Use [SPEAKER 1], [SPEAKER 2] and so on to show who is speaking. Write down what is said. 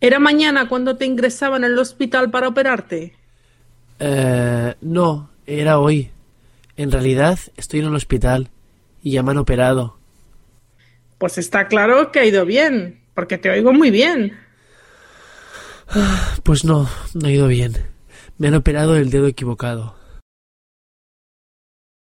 [SPEAKER 1] ¿Era mañana cuando te ingresaban al hospital para operarte?
[SPEAKER 2] Eh, no, era hoy. En realidad estoy en el hospital y ya me han operado.
[SPEAKER 1] Pues está claro que ha ido bien, porque te oigo muy bien.
[SPEAKER 2] Pues no, no ha ido bien. Me han operado el dedo equivocado.